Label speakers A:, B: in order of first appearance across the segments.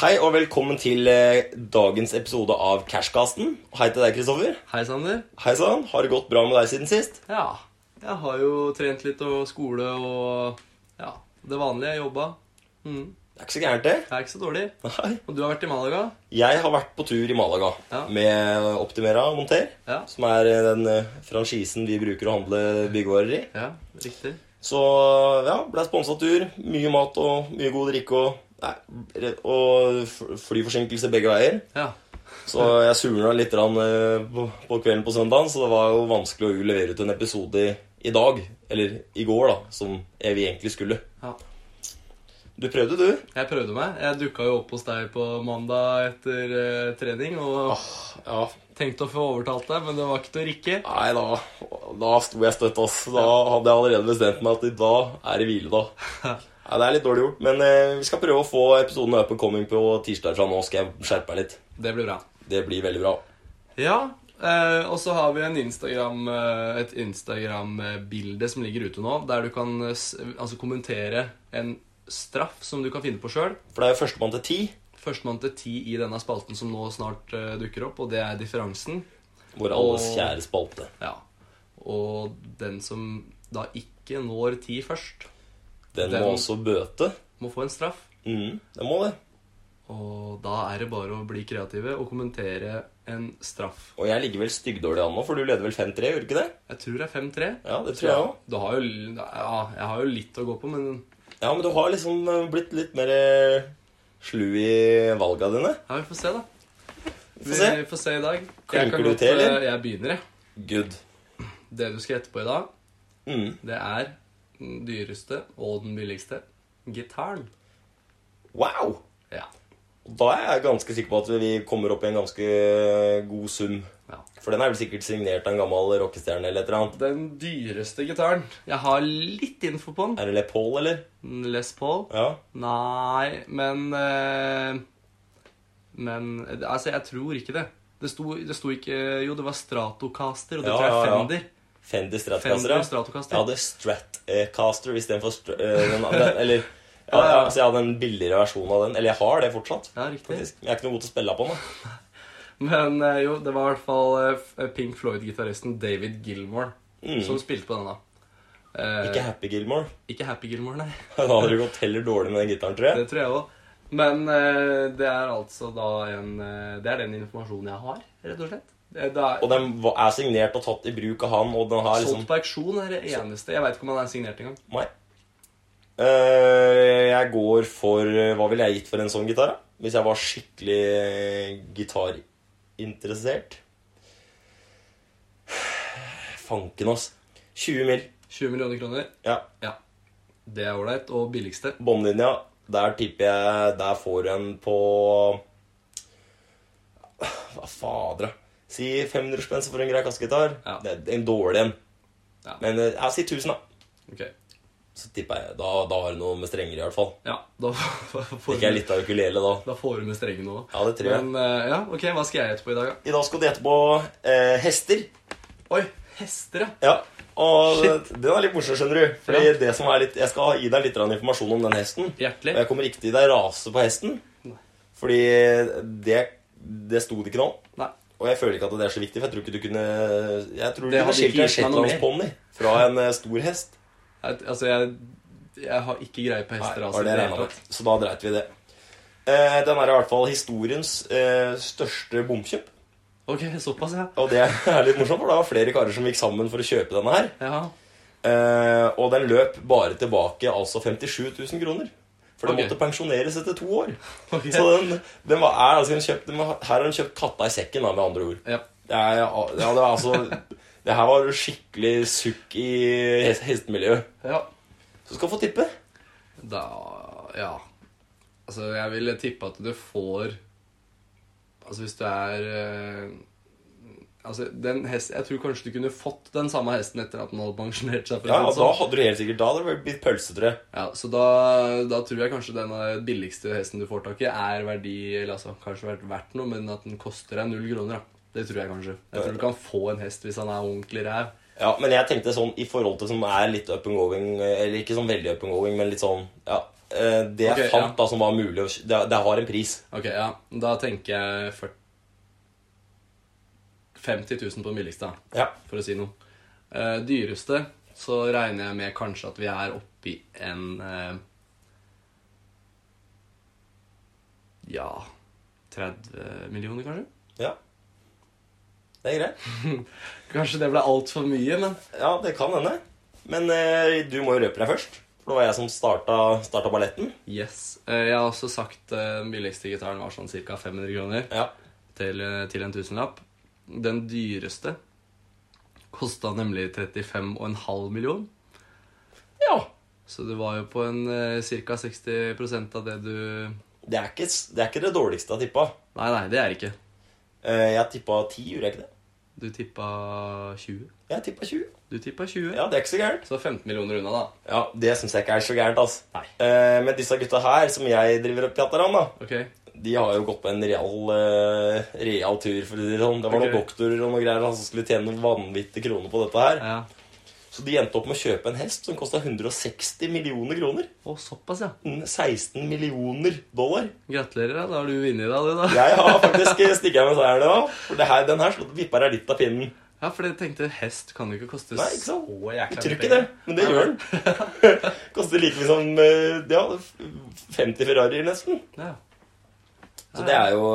A: Hei og velkommen til eh, dagens episode av Cashcasten. Hei til deg, Kristoffer.
B: Hei, Sander.
A: Hei sann. Har det gått bra med deg siden sist?
B: Ja, jeg har jo trent litt og skole og ja, det vanlige. Jeg jobba. Mm.
A: Det er ikke så gærent, det.
B: Det er ikke så dårlig.
A: Nei.
B: Og du har vært i Malaga?
A: Jeg har vært på tur i Malaga
B: Ja.
A: med Optimera Monter,
B: Ja.
A: som er eh, den eh, franchisen vi bruker å handle byggevarer i.
B: Ja, riktig.
A: Så ja, ble sponsa tur. Mye mat og mye god drikke og Nei, og f- flyforsinkelse begge veier.
B: Ja.
A: Så jeg surna litt grann, eh, på på kvelden på søndagen, så det var jo vanskelig å levere ut en episode i, i dag. Eller i går, da, som vi egentlig skulle.
B: ja.
A: Du prøvde, du?
B: Jeg prøvde meg. Jeg dukka jo opp hos deg på mandag etter eh, trening og
A: Ja.
B: tenkte å få overtalt deg, men det var ikke til å rikke.
A: Nei, da, da sto jeg støtt, ass. Da hadde jeg allerede bestemt meg at i dag er det hvile, da. Nei, det er litt dårlig gjort, men eh, vi skal prøve å få episoden up and coming på tirsdag fra nå. Skal jeg skjerpe meg litt.
B: Det blir bra.
A: Det blir veldig bra.
B: Ja. Eh, og så har vi en Instagram, eh, et Instagram-bilde som ligger ute nå, der du kan eh, s altså kommentere en straff som du kan finne på sjøl.
A: For det er jo førstemann til ti.
B: Førstemann til ti i denne spalten som nå snart eh, dukker opp, og det er differansen.
A: Vår alles
B: Og-
A: kjære spalte.
B: Ja. Og den som da ikke når ti først,
A: Den
B: Den-
A: må også bøte.
B: må få en straff.
A: Mm, den må det.
B: Og da er det bare å bli kreative og kommentere en straff.
A: Og jeg ligger vel styggdårlig an nå, for du leder vel 5-3, gjør du ikke det?
B: Jeg tror det er 5-3.
A: Ja, det tror jeg òg.
B: Du har jo l- Ja, jeg har jo litt å gå på, men
A: Ja, men du har liksom eh, blitt litt mer eh, slu i valga dine.
B: ja, vi får se, da.
A: Få se.
B: Vi får se i dag.
A: Klinker
B: kan
A: du
B: godt,
A: til, eller?
B: eh, Jeg begynner, jeg.
A: Good.
B: Det du skal gjette på i dag,
A: Mm.
B: det er den dyreste og den billigste gitaren.
A: Wow!
B: Ja.
A: Og Da er jeg ganske sikker på at vi kommer opp i en ganske eh, god sum.
B: ja.
A: For den er vel sikkert signert av en gammel rockestjerne eller et eller annet.
B: Den dyreste gitaren. Jeg har litt info på den.
A: Er det Le Paul, eller?
B: Les Paul?
A: Ja.
B: Nei, men eh, Men eh, Altså, jeg tror ikke det. Det sto, det sto ikke Jo, det var Stratocaster, og det
A: Ja,
B: tror jeg er
A: ja, ja.
B: Fender.
A: Fender Stratcaster,
B: Fender
A: ja.
B: Stratocaster.
A: Jeg hadde Stratcaster istedenfor Str... eh, den, den, eller ja,
B: Ja, ja.
A: Så jeg hadde en billigere versjon av den. Eller jeg har det fortsatt.
B: Ja, riktig.
A: faktisk. Men Jeg er ikke noe god til å spille på den. da.
B: Men eh, jo, det var i hvert fall eh, Pink Floyd-gitaristen David Gilmore som spilte på denne. Eh,
A: Mm. Ikke Happy Gilmore.
B: ikke Happy Gilmore, nei.
A: Da hadde det gått heller dårlig med den gitaren, tror jeg.
B: Det tror jeg òg. Men eh, det er altså da en eh, Det er den informasjonen jeg har, rett og slett. Det, det er,
A: Og den var- er signert og tatt i bruk av han, og den har liksom
B: Solgt på auksjon er det eneste. Jeg veit ikke om han er signert engang.
A: Nei. Eh, jeg går for eh, Hva ville jeg gitt for en sånn gitar, da? Hvis jeg var skikkelig eh, gitarinteressert? Fanken, ass. 20 mil.
B: 20 millioner kroner.
A: Ja.
B: Ja. Det er ålreit. Og billigste.
A: Båndlinja. Der tipper jeg Der får du en på Hva fader, da? Si 500 spenn så får du en grei kassegitar.
B: Ja.
A: Det er en dårlig en.
B: Ja.
A: Men eh, jeg sier 1000, da.
B: Ok.
A: Så tipper jeg, da, da har du noe med strenger i hvert fall
B: Ja, da får
A: Ikke jeg
B: du-
A: litt av ukulele da
B: da får du med strengen nå.
A: Ja, det tror jeg.
B: Men eh, ja, ok, hva skal jeg gjette på i dag, da?
A: I dag skal du gjette på eh, hester
B: Oi, hester, ja.
A: Ja og
B: Shit.
A: den er litt morsom, skjønner du Fordi
B: Ja.
A: det som er litt Jeg skal gi deg litt grann informasjon om den hesten
B: Hjertelig.
A: Og jeg kommer ikke til å gi deg rase på hesten
B: Nei.
A: Fordi det, det sto det ikke nå
B: Nei.
A: Og jeg føler ikke at det er så viktig For jeg tror ikke du kunne Jeg tror du
B: Det
A: kunne
B: hadde ikke
A: skilt en
B: gitt meg noe mer.
A: shetlandspony Fra en eh, stor hest
B: Jeg, altså, jeg, jeg har ikke greie på hester.
A: Nei,
B: altså,
A: var det jeg
B: i det hele
A: regnet med.
B: tatt.
A: Så da dreit vi i det eh, Den er i hvert fall historiens eh, største bomkjøp
B: Ok, såpass, ja.
A: Og det er litt morsomt, for det var flere karer som gikk sammen for å kjøpe denne her.
B: ja.
A: Eh, og den løp bare tilbake altså 57 000 kroner. For den
B: Ok.
A: måtte pensjoneres etter to år.
B: Ok.
A: Så den, den var, er altså den kjøpt, den var, her har den kjøpt katta i sekken, da, med andre ord.
B: ja.
A: Det, er, ja, det, var altså, det her var skikkelig sukk i hest, hestemiljøet.
B: Ja.
A: Så skal du få tippe.
B: Da Ja. Altså, jeg ville tippe at du får Altså, hvis du er eh, Altså, den hest, Jeg tror kanskje du kunne fått den samme hesten etter at den hadde pensjonert seg. for å
A: Ja,
B: si det
A: Da
B: sånn.
A: hadde du helt sikkert Da hadde det blitt pølse, tror jeg.
B: ja, Så da, da tror jeg kanskje den eh, billigste hesten du får tak i, er verdi Eller altså, kanskje vært verdt noe, men at den koster deg null kroner. da. Det tror jeg kanskje. Jeg tror du kan få en hest hvis han er ordentlig ræv.
A: Ja, Men jeg tenkte sånn i forhold til som er litt up and going eh, Eller ikke sånn veldig up and going, men litt sånn ja, eh, det jeg
B: Ok, ja.
A: fant da som var mulig å kj- det, det har en pris.
B: Ok, ja. Da tenker jeg 40 50 000 på den billigste, da,
A: Ja.
B: for å si noe. Eh, dyreste så regner jeg med kanskje at vi er oppi en eh, Ja 30 millioner, kanskje?
A: ja. Det er greit.
B: Kanskje det ble altfor mye, men
A: Ja, det kan hende. Men eh, du må jo røpe deg først. For det var jeg som starta, starta balletten.
B: yes. Eh, jeg har også sagt eh, den billigste gitaren var sånn ca. 500 kroner.
A: Ja.
B: til, eh, til en tusenlapp. Den dyreste kosta nemlig 35,5 million.
A: ja.
B: Så det var jo på en eh, ca. 60 av det du
A: Det, er ikke, s- det er ikke det dårligste jeg tippa.
B: Nei, nei, det er det ikke.
A: Eh, jeg tippa 10, gjorde jeg ikke det?
B: Du tippa 20.
A: Jeg tippa 20.
B: Du tippa 20.
A: Ja, det er ikke så gærent.
B: Så 15 millioner unna, da.
A: Ja, Det syns jeg ikke er så gærent. altså.
B: Nei.
A: Eh, men disse gutta her, som jeg driver og pjatter om, da,
B: Ok.
A: de har jo gått på en real, eh, real tur, for å si det sånn. Det var
B: Ok.
A: noen doktorer og noen greier altså, som skulle tjene noen vanvittige kroner på dette her.
B: Ja.
A: Så de endte opp med å kjøpe en hest som kosta 160 millioner kroner.
B: Å, såpass, ja.
A: Mm, 16 millioner dollar.
B: Gratulerer, da. Da har du vunnet deg det, da.
A: Jeg har faktisk eh, stikket med seieren i dag. For det her, den her slå- vipper deg litt av pinnen.
B: Ja, for jeg tenkte hest kan jo ikke koste
A: Nei, ikke sant?
B: så jækla
A: Jeg tror
B: mye
A: ikke det,
B: penger.
A: men det
B: Nei,
A: gjør den. Koster like mye som eh, ja, 50 Ferrarier, nesten.
B: Ja.
A: Så det er jo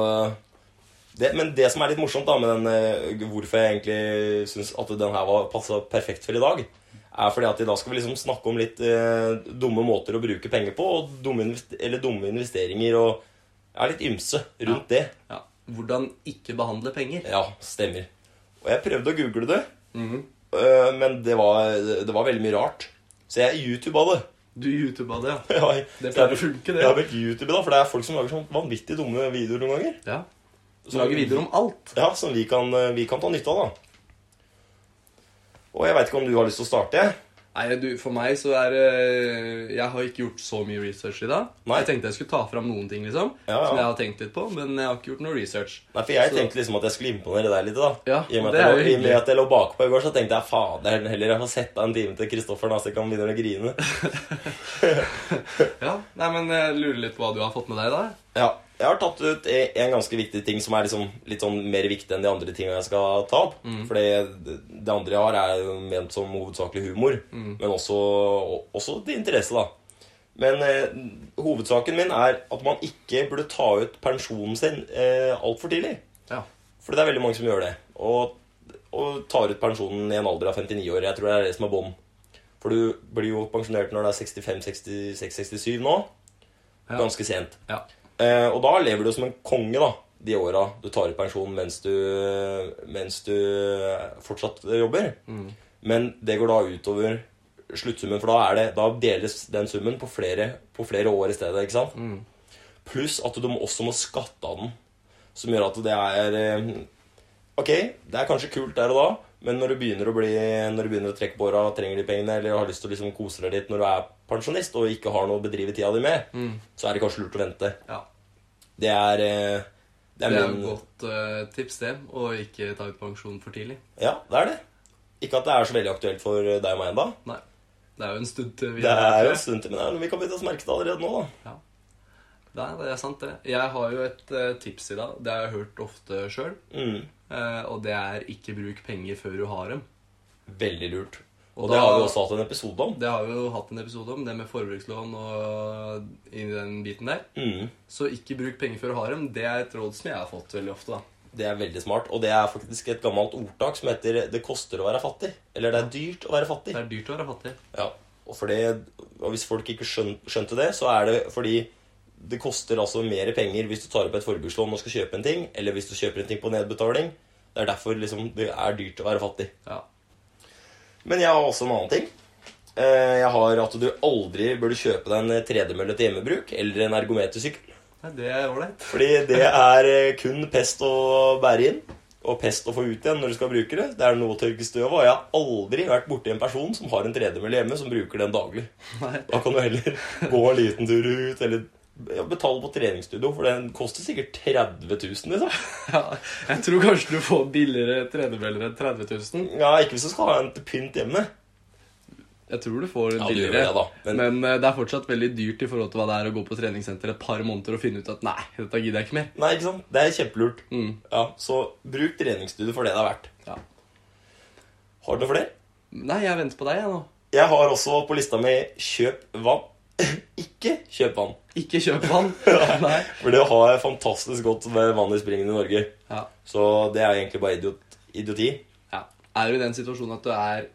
A: det, Men det som er litt morsomt da med den eh, Hvorfor jeg egentlig syns at den her var passa perfekt for i dag, er fordi at i dag skal vi liksom snakke om litt eh, dumme måter å bruke penger på, og dumme, invest- eller dumme investeringer og Jeg er litt ymse rundt det.
B: ja. Hvordan ikke behandle penger.
A: Ja, stemmer. Og jeg prøvde å google det,
B: Mhm.
A: eh, men det var, det var veldig mye rart. Så jeg YouTuba det.
B: Du youtuba det, ja.
A: Ja, jeg-
B: Det pleier å funke, det.
A: Jeg har brukt YouTube, da, for det er folk som lager sånn vanvittig dumme videoer noen ganger.
B: ja.
A: Som-
B: Lage videoer om alt.
A: Ja, som vi kan, eh, vi kan ta nytte av, da. Og jeg veit ikke om du har lyst til å starte? jeg.
B: Nei, du, For meg så er det- Jeg har ikke gjort så mye research i dag.
A: Nei.
B: Jeg tenkte jeg skulle ta fram noen ting liksom
A: Ja, ja.
B: som jeg har tenkt litt på, men jeg har ikke gjort noe research.
A: Nei, for jeg
B: Så-
A: tenkte liksom at jeg skulle imponere deg litt, da.
B: Ja,
A: I og med
B: det
A: at jeg, lå- i og
B: er jo
A: med
B: hyggelig.
A: at jeg lå bakpå i går, så tenkte jeg fader heller jeg får sette av en time til Kristoffer, da, så jeg kan begynne å grine.
B: Ja, Nei, men Jeg lurer litt på hva du har fått med deg da.
A: Ja, jeg har tatt ut e- en ganske viktig ting som er liksom litt sånn mer viktig enn de andre tingene jeg skal ta opp. For det det andre jeg har, er jo ment som hovedsakelig humor, men også, også til interesse, da. Men eh, hovedsaken min er at man ikke burde ta ut pensjonen sin eh, altfor tidlig.
B: Ja.
A: For det er veldig mange som gjør det. Og, og tar ut pensjonen i en alder av 59 år. Jeg tror det er det som er bånd. For du blir jo pensjonert når det er 65-66-67 nå.
B: Ja.
A: Ganske sent.
B: ja.
A: Eh, og da lever du som en konge, da. De åra du tar ut pensjon mens du, mens du fortsatt jobber.
B: Mm.
A: Men det går da utover sluttsummen, for da, er det, da deles den summen på flere, på flere år i stedet. ikke sant?
B: Mm.
A: Pluss at du må- også må skatte av den, som gjør at det er eh, Ok, det er kanskje kult der og da, men når du begynner å, bli, når du begynner å trekke på åra, trenger de pengene, eller har lyst til å liksom kose deg litt når du er pensjonist og ikke har noe å bedrive tida di med,
B: Mm.
A: så er det kanskje lurt å vente.
B: ja.
A: Det er eh, Det er,
B: Det er et
A: min
B: godt eh, tips, det. Å ikke ta ut pensjon for tidlig.
A: Ja, det er det. Ikke at det er så veldig aktuelt for eh, deg og meg ennå.
B: Nei. Det er jo en stund til vi
A: Det
B: der,
A: er jo en
B: tror jeg.
A: stund til, men det er- vi kan begynne å merke det allerede nå, da.
B: Ja. Nei, det er sant, det. Jeg har jo et eh, tips i dag. Det har jeg hørt ofte sjøl.
A: Mm.
B: og det er ikke bruk penger før du har dem.
A: Veldig lurt. Og,
B: Og
A: det
B: da-
A: har vi også hatt en episode om.
B: Det har vi jo hatt en episode om, det med forbrukslån og i den biten der.
A: Mm.
B: Så ikke bruk penger før du har dem. Det er et råd som jeg har fått veldig ofte, da.
A: Det er veldig smart, og det er faktisk et gammelt ordtak som heter 'det koster å være fattig'. Eller 'det er dyrt å være fattig'.
B: Det er dyrt å være fattig.
A: Ja, og, for det, og hvis folk ikke skjøn, skjønte det, så er det fordi det koster altså mer penger hvis du tar opp et forbrukslån og skal kjøpe en ting, eller hvis du kjøper en ting på nedbetaling. Det er derfor liksom, det er dyrt å være fattig.
B: Ja.
A: Men jeg har også en annen ting. Eh, Jeg har at du aldri burde kjøpe deg en tredemølle til hjemmebruk eller en ergometersykkel.
B: Nei, det er ålreit.
A: Fordi det er eh, kun pest å bære inn, og pest å få ut igjen når du skal bruke det. Det er noe å tørke støv av. Jeg har aldri vært borti en person som har en tredemølle hjemme, som bruker den daglig.
B: Nei.
A: Da kan du heller gå en liten tur ut, eller ja, betale på treningsstudio, for den koster sikkert 30 000, liksom.
B: Ja, jeg tror kanskje du får billigere tredemøller enn 30 000.
A: Ja, ikke hvis du skal ha en til pynt hjemme.
B: Ja, Jeg tror du får
A: Ja, du gjør
B: billigere.
A: det, da. Men-
B: Men, eh, det er fortsatt veldig dyrt i forhold til hva det er å gå på treningssenter et par måneder og finne ut at nei, dette gidder jeg ikke mer.
A: Nei, ikke sant? Det er kjempelurt.
B: Mm.
A: Ja, så bruk treningsstudio for det det er verdt.
B: Ja.
A: Har du noe flere?
B: Nei, jeg venter på deg, jeg nå.
A: Jeg har også på lista mi 'kjøp vann'. ikke kjøp vann.
B: Ikke kjøp vann. nei.
A: For det har fantastisk godt med vann i springen i Norge.
B: Ja.
A: Så det er egentlig bare idiot, idioti.
B: ja. Er du i den situasjonen at du er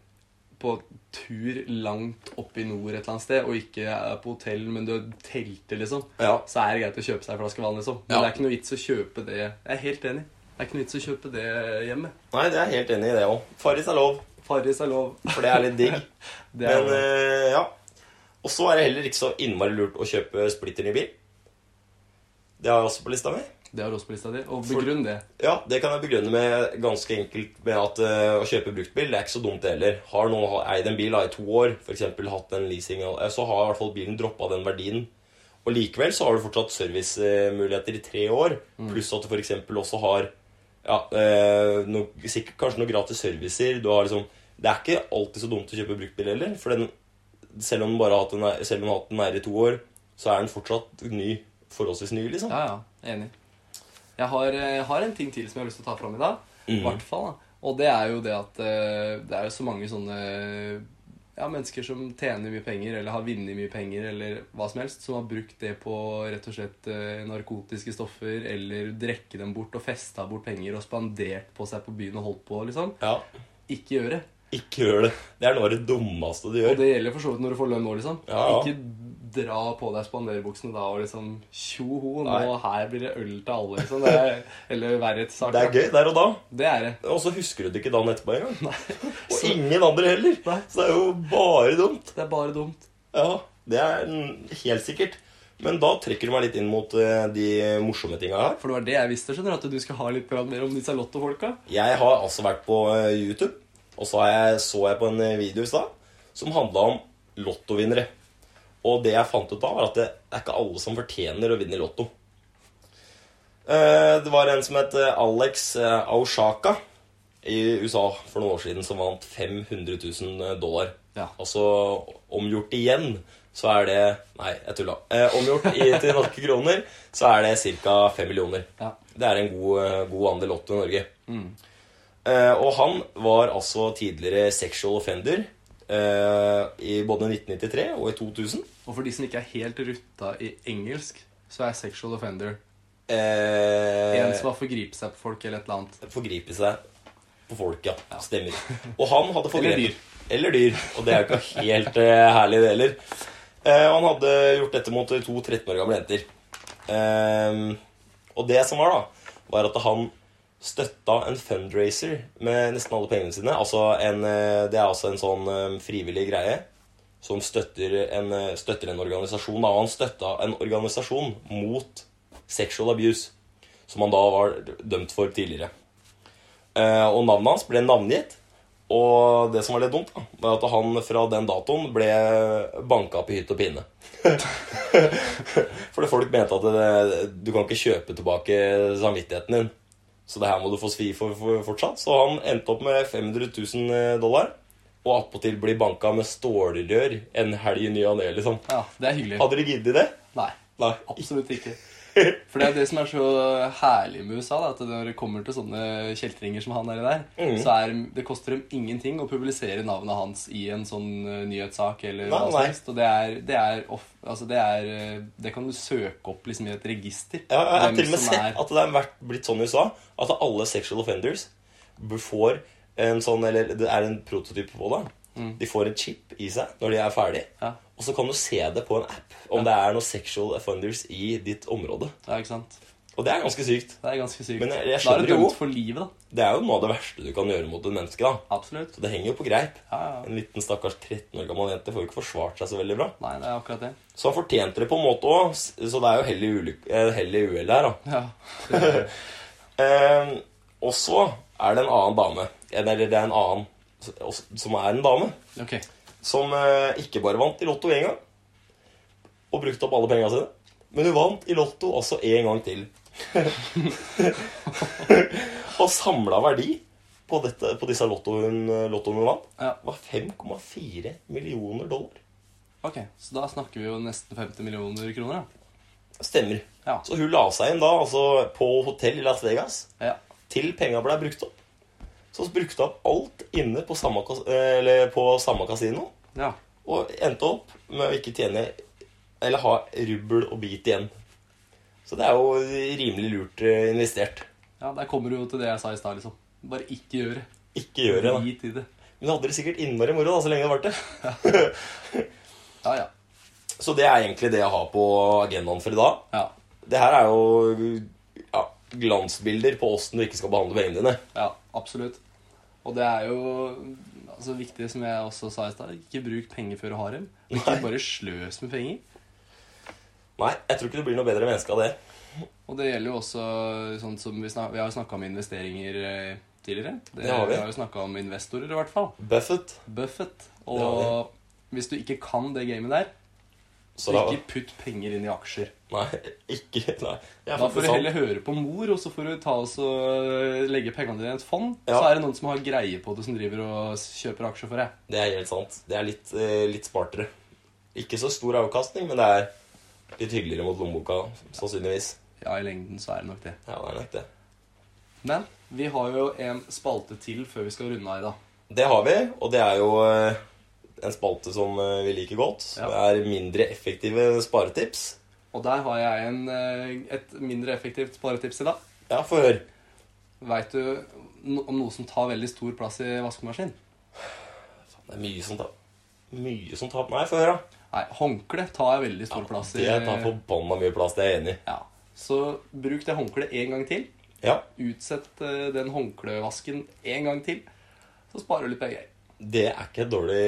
B: på tur langt oppe i nord et eller annet sted, og ikke er på hotell, men du telter, liksom,
A: Ja.
B: så er det greit å kjøpe seg en flaske vann, liksom. Men
A: Ja.
B: det er ikke noe vits å kjøpe det Jeg er helt enig. Det er ikke noe vits å kjøpe det hjemme.
A: Nei, det er jeg helt enig i det òg. Farris er lov,
B: Farris er lov.
A: for det er litt digg.
B: Det er
A: Men eh, ja. Og så er det heller ikke så innmari lurt å kjøpe splitter ny bil. Det har jeg også på lista mi.
B: Det har også på lista di. Og begrunn det.
A: Ja, det kan jeg begrunne med ganske enkelt med at eh, å kjøpe bruktbil det er ikke så dumt det heller. Har nå ha- eid en bil da, i to år, f.eks. hatt en leasing, eh, så har i hvert fall bilen droppa den verdien. Og likevel så har du fortsatt servicemuligheter i tre år, pluss at du f.eks. også har ja, eh, noe, sikkert kanskje noen gratis servicer. Du har liksom Det er ikke alltid så dumt å kjøpe bruktbil heller, for den, selv om den bare har hatt den, er- selv om den har hatt den her i to år, så er den fortsatt ny, forholdsvis ny, liksom.
B: Ja, ja. Enig. Jeg har, jeg har en ting til som jeg har lyst til å ta fram i dag. I
A: Mhm.
B: hvert fall. da. Og det er jo det at eh, det er jo så mange sånne ja, mennesker som tjener mye penger, eller har vunnet mye penger, eller hva som helst, som har brukt det på rett og slett eh, narkotiske stoffer, eller drekke dem bort og festa bort penger og spandert på seg på byen og holdt på, liksom.
A: Ja.
B: Ikke gjør det.
A: Ikke gjør det. Det er noe av det dummeste du gjør.
B: Og det gjelder for så vidt når du får lønn nå, liksom.
A: Ja, ja.
B: Ikke dra på deg spanderbuksene da og liksom tjo ho, nå
A: Nei.
B: her blir det øl til alle, liksom. Det er, eller verre til saken.
A: Det er gøy der og da.
B: Det er det.
A: Og så husker du det ikke dagen etterpå engang. Og
B: Så-
A: ingen andre heller.
B: Nei.
A: Så det er jo bare dumt.
B: Det er bare dumt.
A: Ja, det er n- helt sikkert. Men da trekker du meg litt inn mot eh, de morsomme tinga her.
B: For det var det jeg visste, skjønner du, at du skal ha litt grann mer om disse lottofolka.
A: Jeg har altså vært på eh, YouTube, og så, har jeg, så jeg på en eh, video i stad som handla om lottovinnere. Og det jeg fant ut av, var at det er ikke alle som fortjener å vinne i lotto. Eh, Det var en som het eh, Alex eh, Aushaka i USA for noen år siden, som vant 500 000 eh, dollar.
B: Ja.
A: Altså omgjort igjen, så er det Nei, jeg tulla. Eh, Omgjort i, til norske kroner, så er det ca. 5 millioner.
B: Ja. Mm.
A: Det er en god, eh, god andel lotto i Norge. Eh, og han var altså tidligere sexual offender eh, i både 1993 og i 2000.
B: Og for de som ikke er helt rutta i engelsk, så er sexual offender en
A: Eh,
B: som har forgripet seg på folk eller et eller annet.
A: forgripe seg på folk, ja. Stemmer. Og han hadde
B: Eller
A: forgrepet
B: dyr.
A: Eller dyr. Og det er jo ikke helt eh, herlig, det heller. Eh, og han hadde gjort dette mot to 13 år gamle jenter. Ehm, og det som var, da, var at han støtta en fundraiser med nesten alle pengene sine. Altså en, eh, det er altså en sånn eh, frivillig greie som støtter en, eh, støtter en organisasjon. Da. Og han støtta en organisasjon mot sexual abuse, som han da var dømt for tidligere. Eh, og navnet hans ble navngitt. Og det som var litt dumt, da, var at han fra den datoen ble banka opp i hytt og pinne. Fordi folk mente at det, du kan ikke kjøpe tilbake samvittigheten din. Så det her må du få svi for, for fortsatt. Så han endte opp med 500 000 dollar. Og attpåtil blir banka med stålrør en helg i ny og ne, liksom.
B: Ja, det er hyggelig.
A: Hadde du giddet det?
B: Nei.
A: Nei.
B: Absolutt ikke. For det er det som er så herlig med USA, da, at når det kommer til sånne kjeltringer som han er der,
A: Mhm.
B: så er, det koster dem ingenting å publisere navnet hans i en sånn eh, nyhetssak eller
A: Nei,
B: hva som
A: nei.
B: helst. Og det er, det er, off, altså det er eh, Det kan du søke opp liksom i et register.
A: Ja, jeg har
B: hvem
A: til og med
B: som
A: sett
B: er-
A: at det har vært, blitt sånn i USA at alle sexual offenders b- får en sånn Eller det er en prototype på det. De får en chip i seg når de er ferdig.
B: Mm. Ja.
A: Og så kan du se det på en app om det er noen sexual offenders i ditt område.
B: Ja, ikke sant?
A: Og det er ganske sykt.
B: Det er ganske sykt.
A: Men jeg- jeg
B: da er
A: skjønner
B: det
A: jo-
B: dømt for livet, da.
A: Det er jo noe av det verste du kan gjøre mot et menneske. da
B: Absolutt.
A: Så det henger jo på greip.
B: Ja, ja.
A: En liten stakkars 13 år gammel jente får jo ikke forsvart seg så veldig bra.
B: Nei, det er akkurat det.
A: Så han fortjente det på en måte òg, så det er jo hell i ulyk- eh, hell i uhellet her. da
B: Ja. Det er,
A: Eh, og så er det en annen dame Eller det er en annen s- også- Som er en dame
B: ok.
A: Som eh, ikke bare vant i lotto en gang Og brukte opp alle pengene sine Men hun vant i lotto også en gang til Og samlet verdi på, dette, på disse lottoen, lottoen hun vant,
B: Ja.
A: var 5,4 millioner dollar.
B: Ok, Så da snakker vi jo nesten 50 millioner kroner, da.
A: Stemmer.
B: Ja.
A: Så hun la seg inn da, altså på hotell i Las Vegas,
B: ja.
A: til penga ble brukt opp. Så hun brukte opp alt inne på samme, kas- eller på samme kasino,
B: ja.
A: og endte opp med å ikke tjene Eller ha rubbel og bit igjen. Så det er jo rimelig lurt eh, investert.
B: Ja, Der kommer du jo til det jeg sa i stad, liksom. Bare ikke gjør det.
A: Ikke gjør det. da.
B: Drit i det.
A: Men hun hadde det sikkert innmari moro da, så lenge det varte.
B: Ja, ja.
A: Så det er egentlig det jeg har på agendaen for i dag.
B: Ja.
A: Det her er jo ja, glansbilder på åssen du ikke skal behandle pengene dine.
B: ja absolutt. Og det er jo altså, viktig, som jeg også sa i stad, ikke bruk penger før du har dem. Og Ikke
A: Nei.
B: bare sløs med penger.
A: Nei, jeg tror ikke du blir noe bedre menneske av det.
B: Og det gjelder jo også sånn som vi, snak vi har jo snakka om investeringer eh, tidligere.
A: Det har vi.
B: vi har jo snakka om investorer, i hvert fall.
A: Buffett.
B: Buffett.
A: Det har
B: Og hvis du ikke kan det gamet der,
A: Så
B: så
A: da,
B: ikke putt penger inn i aksjer.
A: nei, ikke Nei. Det er
B: Da får
A: faktisk
B: du heller
A: sant.
B: høre på mor, og så får du ta oss og øh, legge pengene dine i et fond.
A: Ja.
B: Så er det noen som har greie på det, som driver og s- kjøper aksjer for deg.
A: Det er helt sant. Det er litt, eh, litt smartere. Ikke så stor avkastning, men det er litt hyggeligere mot lommeboka, sannsynligvis.
B: Ja, i lengden så er det nok det.
A: Ja, det er nok det.
B: Men vi har jo en spalte til før vi skal runde av i dag.
A: Det har vi, og det er jo eh, en spalte som eh, vi liker godt.
B: Ja.
A: Det er mindre effektive sparetips.
B: Og der har jeg en, øh, et mindre effektivt sparetips i dag.
A: Ja, få høre.
B: Veit du no- om noe som tar veldig stor plass i vaskemaskin?
A: Det er mye som tar Mye som tar Nei, få høre, da.
B: Nei, håndkle tar veldig stor
A: Ja,
B: plass i
A: det tar forbanna mye plass, det er jeg enig i.
B: ja. Så bruk det håndkleet en gang til.
A: Ja,
B: Utsett eh, den håndklevasken en gang til, så sparer du litt penger.
A: det er ikke et dårlig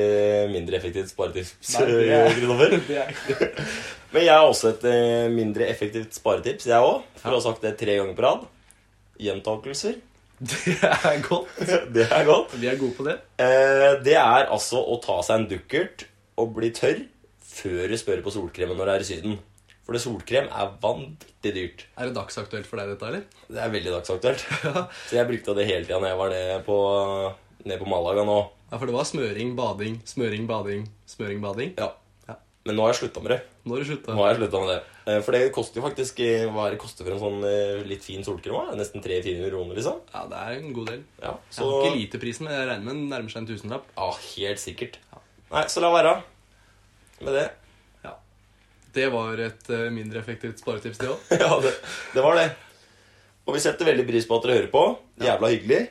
A: mindre effektivt sparetips,
B: Nei, det er-
A: Kristoffer.
B: Det er ikke det.
A: Men jeg har også et eh, mindre effektivt sparetips, jeg òg. For å ha sagt det tre ganger på rad. Gjentakelser.
B: Det er godt.
A: Det er godt.
B: Vi er gode på det.
A: Eh, det er altså å ta seg en dukkert og bli tørr før du spør på solkremen når du er i Syden. For det solkrem er vanvittig dyrt.
B: Er det dagsaktuelt for deg, dette, eller?
A: Det er veldig dagsaktuelt. Så jeg brukte det hele tida når jeg var nede på, nede på Malaga nå.
B: Ja, for det var smøring, bading, smøring, bading, smøring, bading.
A: Ja.
B: Ja.
A: Men nå har jeg slutta med det.
B: Nå har du
A: Nå
B: slutta.
A: har jeg sluttet med det. Eh, For det koster jo faktisk eh, Hva er det koster for en sånn eh, litt fin solkrem? da? Nesten 300-400 kroner, liksom.
B: Ja, det er en god del.
A: Ja,
B: Jeg
A: så
B: har ikke lite prisen, men jeg regner med den nærmer seg en tusenlapp.
A: Ja, helt sikkert. Nei, så la være. Med det.
B: Ja. Det var et eh, mindre effektivt sparetips, det òg.
A: ja, det, det var det. Og vi setter veldig pris på at dere hører på. Jævla hyggelig.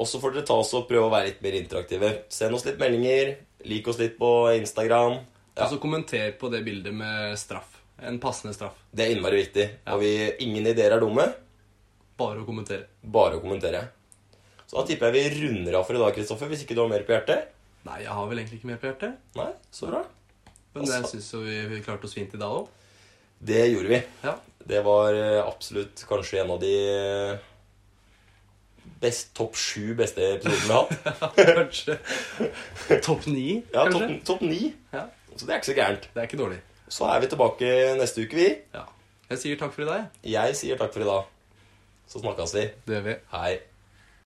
A: Og så får dere ta oss og prøve å være litt mer interaktive. Send oss litt meldinger. Lik oss litt på Instagram. Ja,
B: Og så kommenter på det bildet med straff. En passende straff.
A: det er innmari viktig. Og vi, ingen ideer er dumme.
B: Bare å kommentere.
A: Bare å kommentere. Så da tipper jeg vi runder av for i dag, Kristoffer. Hvis ikke du har mer på hjertet.
B: Nei, jeg har vel egentlig ikke mer på hjertet.
A: Nei, så bra.
B: Men jeg
A: Altså-
B: syns jo vi, vi klarte oss fint i dag òg.
A: Det gjorde vi.
B: Ja.
A: Det var eh, absolutt kanskje en av de eh, best, topp sju beste episodene vi har hatt.
B: Kanskje topp ni,
A: Ja,
B: kanskje?
A: topp topp ni.
B: Ja,
A: Så det er ikke så gærent.
B: Det er ikke dårlig.
A: Så er vi tilbake neste uke, vi.
B: Ja. Jeg sier takk for i dag. jeg.
A: Jeg sier takk for i dag. Så snakkes vi.
B: Det gjør vi.
A: Hei.